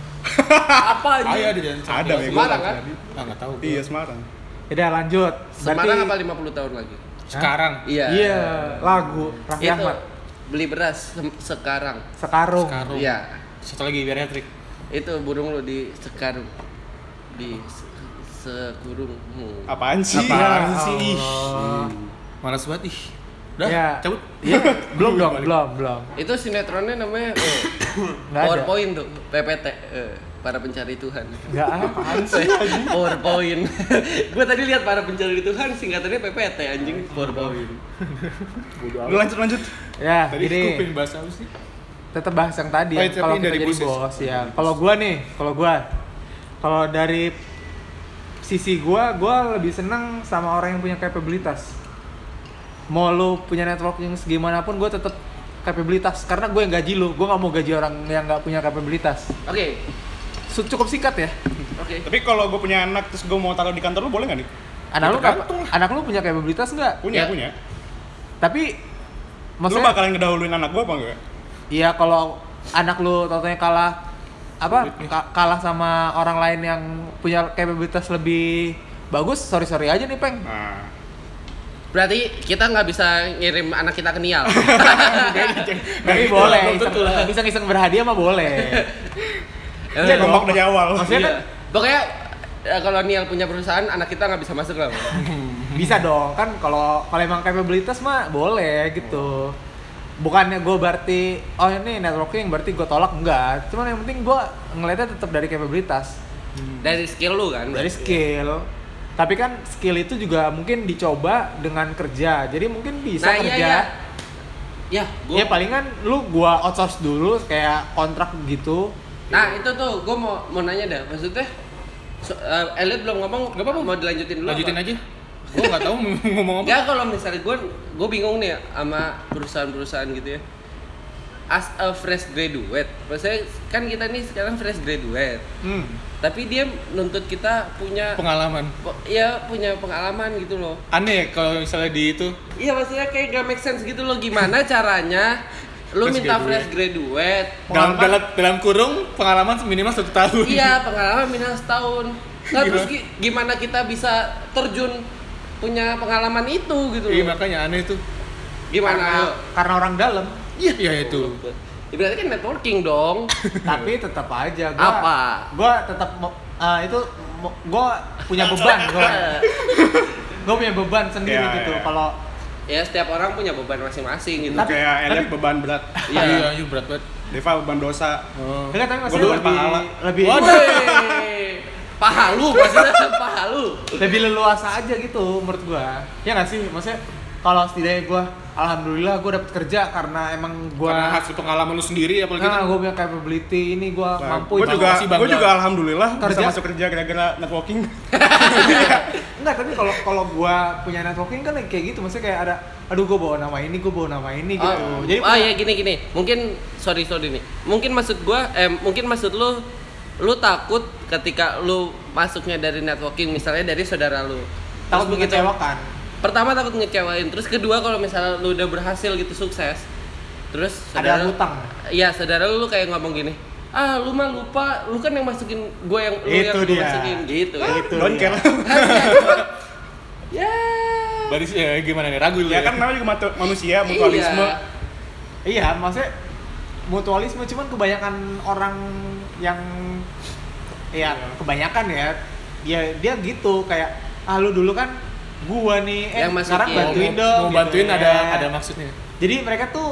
S1: Apa
S2: Ada
S1: anjing?
S2: di jalan.
S3: Ada,
S2: Sampai-
S3: Bego.
S1: Semarang kan?
S2: Ah, nggak tahu. gua.
S3: iya Semarang
S4: Udah ya, lanjut.
S1: Semarang apa 50 tahun lagi?
S2: Sekarang.
S1: Iya.
S4: Iya, lagu Raffi
S1: Itu
S4: Ahmad.
S1: beli beras se- sekarang.
S4: Sekarung.
S3: Oh.
S2: Sekarang.
S1: Iya.
S2: Satu lagi biar hat trick.
S1: Itu burung lu di sekarung. Di se- sekurungmu.
S3: Apaan
S1: Iya.
S3: sih?
S2: Apaan
S4: Ya
S2: sih? Ih.
S4: Allah.
S2: Malas banget ih. Udah,
S4: Ya.
S2: cabut.
S4: Iya, belum dong, belum, belum.
S1: Itu sinetronnya namanya eh,
S4: Nggak ada.
S1: PowerPoint tuh, PPT, eh, para pencari Tuhan.
S4: Enggak
S3: Apaan sih? anjing?
S1: PowerPoint. Gue tadi lihat para pencari Tuhan singkatannya PPT anjing PowerPoint.
S3: Udah lanjut lanjut.
S4: Ya,
S2: Tadi
S4: gini.
S2: gue pengen bahas apa sih?
S4: tetap bahas yang tadi
S2: Oh,
S4: ya,
S2: tapi
S4: kalau kita
S2: dari
S4: jadi
S2: busis.
S4: bos ya kalau gua nih kalau gua kalau dari sisi gua gua lebih senang sama orang yang punya kapabilitas mau lu punya networking segimana pun gua tetap kapabilitas karena gue yang gaji lu gua nggak mau gaji orang yang nggak punya kapabilitas
S1: Oke,
S4: Su- cukup singkat ya
S1: oke.
S3: Tapi kalau gue punya anak terus gue mau taruh di kantor lu boleh nggak nih?
S4: anak lu kap-
S2: Tergantung
S4: anak lu punya kapabilitas nggak
S3: Punya
S1: Ya.
S3: punya.
S4: tapi
S3: Lu
S4: maksudnya
S3: bakalan ngedahuluin anak gue apa enggak?
S4: Iya kalau anak lu totalnya kalah apa ka- kalah sama orang lain yang punya kapabilitas lebih bagus sorry sorry aja nih peng
S3: Nah,
S1: Berarti kita nggak bisa ngirim anak kita ke Nial.
S3: Nah,
S4: tapi boleh bisa iseng berhadiah mah boleh Iya
S1: Eh,
S3: dia kompak dari awal.
S4: maksudnya
S1: Iya.
S4: kan
S1: Pokoknya eh, kalau Nial punya perusahaan, anak kita nggak bisa masuk lah.
S4: Hmm. bisa dong kan kalau kalau emang kapabilitas mah boleh gitu bukannya gue berarti oh ini networking berarti gue tolak enggak cuman yang penting gue ngeliatnya tetap dari kapabilitas
S1: Dari skill lu kan.
S4: dari skill tapi kan skill itu juga mungkin dicoba dengan kerja jadi mungkin bisa
S1: Nah, iya,
S4: kerja
S1: iya. Ya, gua-
S4: ya palingan lu gua outsource dulu kayak kontrak gitu
S1: Nah itu tuh gue mau mau nanya dah maksudnya so, eh, Elliot belum ngomong
S2: Nggak apa-apa.
S1: mau dilanjutin dulu
S2: Lanjutin aja. Gue nggak tahu mau ngomong apa.
S1: Gak kalau misalnya gue gue bingung nih sama perusahaan-perusahaan gitu ya as a fresh graduate maksudnya kan kita nih sekarang fresh graduate
S4: hmm.
S1: tapi dia nuntut kita punya
S2: Pengalaman.
S1: po- ya punya pengalaman gitu loh
S2: Aneh ya kalau misalnya di itu
S1: iya maksudnya kayak gak make sense gitu loh gimana caranya lu
S2: Fresh
S1: minta
S2: graduate.
S1: fresh graduate
S2: dalam, dalam dalam kurung pengalaman minimal satu tahun.
S1: Iya, pengalaman minimal setahun. Nah,
S2: Gimana?
S1: terus gi- gimana kita bisa terjun punya pengalaman itu gitu
S2: Iya
S1: loh.
S2: makanya aneh itu.
S1: Gimana?
S4: karena, karena orang dalam
S2: Iya ya itu.
S1: Ya, berarti kan networking dong.
S4: tapi tetap aja gua
S1: Apa?
S4: gua tetap mo- ah, itu mo- gua punya beban gua
S1: Nah,
S4: gua punya beban sendiri
S3: Iya,
S4: gitu
S3: iya.
S4: kalau
S1: ya, setiap orang punya beban masing-masing gitu.
S3: Lu kayak Elliot beban berat.
S1: Iya.
S2: Iya anjir berat banget.
S3: Deva beban dosa.
S2: Oh.
S4: enggak tapi
S3: Gua
S4: maksudnya
S3: beban
S4: lebih
S3: pahala.
S4: lebih
S2: Waduh.
S1: Wey, Paha lu, maksudnya paha lu.
S4: lebih leluasa aja gitu menurut gua ya nggak sih maksudnya kalau setidaknya gua alhamdulillah gua dapet kerja karena emang gua
S2: Karena hasil pengalaman lu sendiri
S1: Ah,
S2: apalagi
S4: Nah,
S2: kan.
S4: gue punya capability ini gue
S2: Nah,
S4: mampu
S3: gue
S4: itu.
S3: Nah, juga,
S2: Masih bangga.
S3: gue juga alhamdulillah bisa
S4: Kerja.
S3: masuk kerja gara-gara networking.
S4: Enggak, tapi kalau kalau gue punya networking kan kayak gitu, maksudnya kayak ada aduh gue bawa nama ini, gue bawa nama ini
S2: Ah,
S4: gitu.
S1: Oh,
S4: Jadi
S1: oh
S2: iya,
S1: ya gini gini. Mungkin sorry sorry nih. Mungkin maksud gua eh mungkin maksud lu lu takut ketika lu masuknya dari networking misalnya dari saudara lu. Terus
S4: takut
S1: begitu-
S4: mengecewakan.
S1: pertama takut ngecewain terus kedua kalau misalnya lu udah berhasil gitu sukses terus
S4: Ada
S1: saudara
S4: utang.
S1: iya saudara lu kayak ngomong gini ah lu mah lupa lu kan yang masukin gue yang lu yang
S4: Itu
S1: gua
S4: dia.
S1: masukin gitu ya
S4: Itu
S3: Don't
S4: dia.
S3: care.
S1: ya
S2: Baris ya gimana nih ragu lu
S3: ya kan namanya juga matu- manusia, mutualisme.
S1: Iya.
S4: Iya, maksudnya mutualisme cuman kebanyakan orang yang ya
S2: Iya.
S4: kebanyakan ya dia dia gitu kayak ah lu dulu kan gua nih eh
S1: Yang
S4: sekarang
S1: masukin.
S4: bantuin
S2: iya, mau,
S4: dong
S2: mau
S4: gitu.
S2: bantuin ada
S4: Ya.
S2: ada maksudnya.
S4: jadi mereka tuh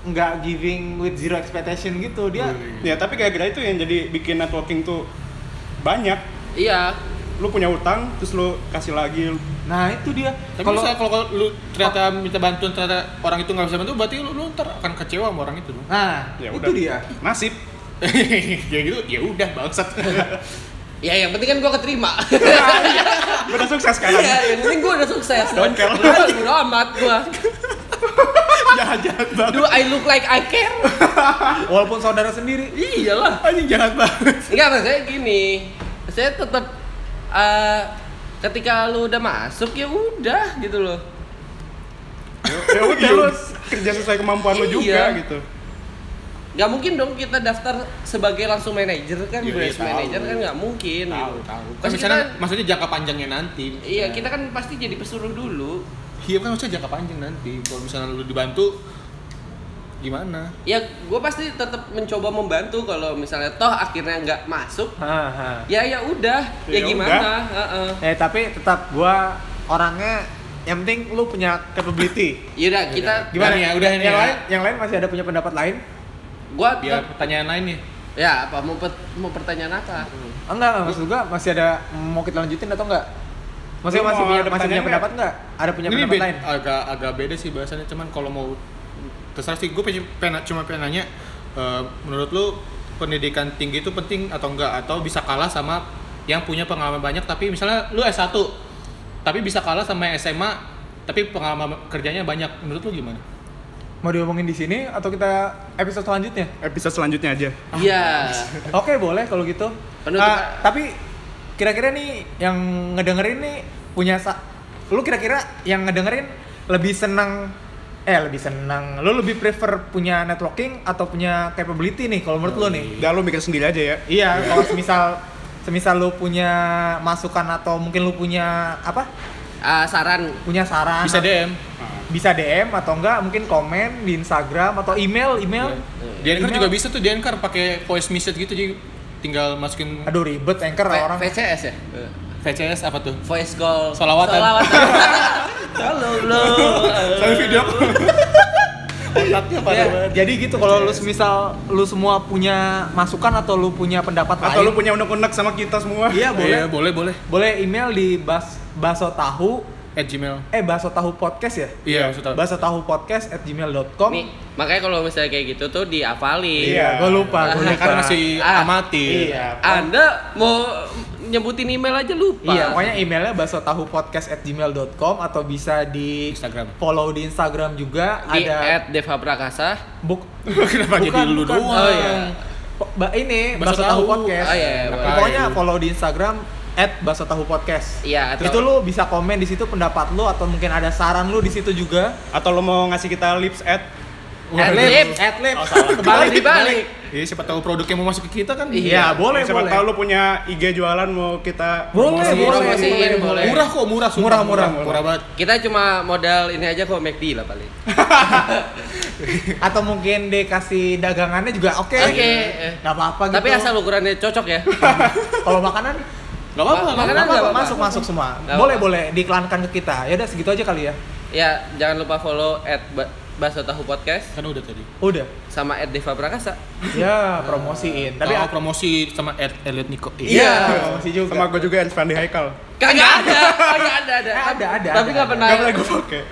S4: nggak giving with zero expectation gitu dia
S3: Ya tapi gara-gara itu yang jadi bikin networking tuh banyak.
S1: iya
S3: Lu punya utang, terus lu kasih lagi.
S4: nah itu dia
S2: Tapi
S4: kalau
S2: misalnya kalau kalau lu ternyata minta bantuan ternyata orang itu nggak bisa bantu berarti lu, lu ntar akan kecewa sama orang itu dong.
S4: nah
S3: Ya
S4: itu
S3: udah.
S4: dia
S3: Nasib.
S2: ya gitu ya udah bangsat.
S1: ya yang penting kan gue keterima
S3: Gua udah sukses kan? sekarang.
S1: iya yang penting gue udah sukses
S3: Don't care.
S1: Udah, bodo amat gue
S3: Jahat-jahat banget.
S1: do I look like I care
S4: walaupun saudara sendiri
S1: iyalah
S3: Anjing jahat banget.
S1: Enggak, maksudnya gini. Saya tetap eh, ketika lu udah masuk ya udah gitu loh.
S3: ya udah lu kerja sesuai kemampuan lu juga
S1: Iya.
S3: gitu
S1: Gak mungkin dong kita daftar sebagai langsung manajer kan,
S2: Iya,
S1: branch
S2: iya, tahu.
S1: manager kan nggak mungkin.
S2: tahu
S1: gitu.
S2: tahu. Kan
S1: Pasti
S2: misalnya
S1: kita-
S2: maksudnya jangka panjangnya nanti.
S1: iya kita kan pasti jadi pesuruh dulu.
S2: Iya kan maksudnya jangka panjang nanti. Kalau misalnya lu dibantu gimana?
S1: ya gue pasti tetap mencoba membantu kalau misalnya toh akhirnya nggak masuk
S4: Haha.
S1: ya ya udah ya,
S3: Ya udah.
S1: gimana Heeh.
S4: Eh tapi tetap gua orangnya yang penting lu punya capability.
S1: ya udah kita
S4: Gimana
S2: Udah nih ya, udah nih
S4: yang
S2: ya.
S4: lain, yang lain masih ada punya pendapat lain?
S1: gue
S2: Biar pertanyaan lain nih.
S1: ya apa mau pet- mau pertanyaan apa
S2: Hmm.
S4: Enggak, enggak maksud gua masih ada mau kita lanjutin atau enggak? Maksudnya
S3: Lu
S4: masih
S3: mau
S4: punya,
S3: ada
S4: masih punya
S3: pertanyaan
S4: pendapat enggak? Ada punya
S2: ini
S4: pendapat
S2: beda-
S4: lain?
S2: agak agak beda sih bahasannya cuman kalau mau terserah sih gue cuma pengen nanya eh, menurut lu pendidikan tinggi itu penting atau enggak atau bisa kalah sama yang punya pengalaman banyak tapi misalnya lu S1 tapi bisa kalah sama yang SMA tapi pengalaman kerjanya banyak menurut lu gimana?
S4: Mau diomongin di sini atau kita episode selanjutnya?
S3: Episode selanjutnya aja.
S1: iya
S4: Oke, boleh kalau gitu.
S1: Penutup-
S4: Ah, tapi kira-kira nih yang ngedengerin nih punya sa- lu kira-kira yang ngedengerin lebih senang eh lebih senang lu lebih prefer punya networking atau punya capability nih kalau menurut lu nih?
S3: Udah lu mikir sendiri aja ya.
S4: Iya, kalau semisal semisal lu punya masukan atau mungkin lu punya apa?
S1: Ah, saran
S4: Punya saran
S2: Bisa DM.
S4: bisa DM atau enggak mungkin komen di Instagram atau email email.
S2: Di Anchor
S4: Email.
S2: juga bisa tuh di Anchor pakai voice message gitu jadi tinggal masukin
S4: Aduh ribet
S1: V-
S4: anchor orang.
S1: VCS ya Eh,
S2: VCS apa tuh?
S1: voice call
S2: Solawatan.
S1: solawatan halo lo
S3: Saya video call.
S2: Kontaknya
S4: Ya, jadi gitu kalau lu semisal lu semua punya masukan atau lu punya pendapat
S3: Atau lu
S4: lain.
S3: punya unek-unek sama kita semua.
S4: Iya, boleh.
S2: Boleh, boleh, boleh.
S4: Boleh email di bas baso tahu
S2: At Gmail.
S4: eh baso tahu podcast ya?
S2: Iya, maksudnya.
S4: baso tahu podcast at gmail.com
S1: nih makanya kalau misalnya kayak gitu tuh diapalin
S4: Iya,
S3: Iya.
S4: gue lupa, gue
S2: Karena
S4: lupa.
S2: kan masih
S1: Ah,
S2: amati.
S4: Iya,
S1: anda mau nyebutin email aja lupa
S4: Iya, pokoknya emailnya baso tahu podcast at gmail.com atau bisa di
S2: Instagram.
S4: follow di Instagram juga
S1: di
S4: ada
S1: at Deva Prakasa
S4: book
S2: Kenapa jadi lu doang?
S1: Oh, iya.
S4: Po- ba- ini
S2: Baso
S4: baso tahu
S2: Tahu.
S4: podcast.
S1: Oh, iya,
S4: Nah,
S1: boleh.
S4: Pokoknya follow di Instagram at baso tahu podcast.
S1: Iya, atau-
S4: Itu lu bisa komen di situ pendapat lu atau mungkin ada saran lu di situ juga.
S3: Atau lu mau ngasih kita lips ad?
S1: At lips.
S4: Iya, at lips.
S1: kebalik dibalik
S2: Iya, siapa tahu produknya mau masuk ke kita kan?
S4: Iya, boleh,
S3: Siapa
S4: boleh.
S3: tahu lu punya IG jualan mau kita
S4: Boleh,
S3: promosiin.
S4: boleh,
S1: promosiin,
S4: boleh, Iya,
S1: boleh.
S4: boleh.
S2: Murah kok, murah, sumpah.
S4: Murah, murah.
S2: murah banget.
S1: kita cuma modal ini aja kok McD lah paling
S4: Atau mungkin dikasih dagangannya juga oke.
S1: Oke. eh.
S4: Gak apa-apa gitu.
S1: tapi asal ukurannya cocok ya
S4: kalau makanan
S2: Gak apa-apa,
S1: Ma-
S2: gak
S1: makanan
S2: apa-apa.
S1: nggak apa-apa.
S4: masuk masuk semua.
S1: Nggak
S4: boleh
S1: apa-apa.
S4: boleh diiklankan ke kita. Ya udah segitu aja kali ya.
S1: ya jangan lupa follow at Ba- Baso Tahu Podcast
S2: Kan udah tadi.
S4: Udah.
S1: sama at Deva Prakasa
S4: Ya promosiin. Tapi
S2: Tapi promosi sama Ed Elliot Nico.
S1: Iya.
S4: promosi juga.
S3: Sama gue juga Irfandi Haikal.
S4: Iya.
S1: kagak ada kagak ada ada
S4: Eh, ada, ada,
S1: tapi nggak
S4: ada, ada.
S1: pernah
S3: Gak boleh gue pakai.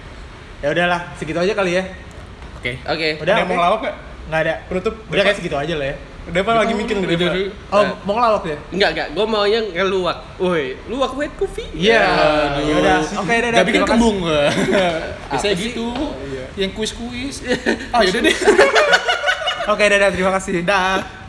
S4: Ya udahlah, segitu aja kali ya.
S2: Oke.
S1: oke
S4: Udah,
S3: Ada yang
S4: oke.
S3: mau ngelawak gak?
S4: Nggak ada.
S3: Penutup.
S4: Udah kayak segitu aja lah ya.
S3: Deva lagi mikir nih Deva.
S2: Dari-
S4: Oh, mau ngelawak ya?
S1: Enggak, enggak. Gue maunya ngeluak. Woi, luwak wet coffee.
S4: Iya.
S2: Aduh.
S4: Ya udah. Oke, dadah.
S2: Gak bikin
S4: Terima kasih. Oh,
S2: kembung gua. Biasanya
S1: sih?
S2: gitu.
S4: iya.
S2: Yang kuis-kuis. Ah, yaudah deh.
S4: Oke, dadah. Terima kasih. Dah.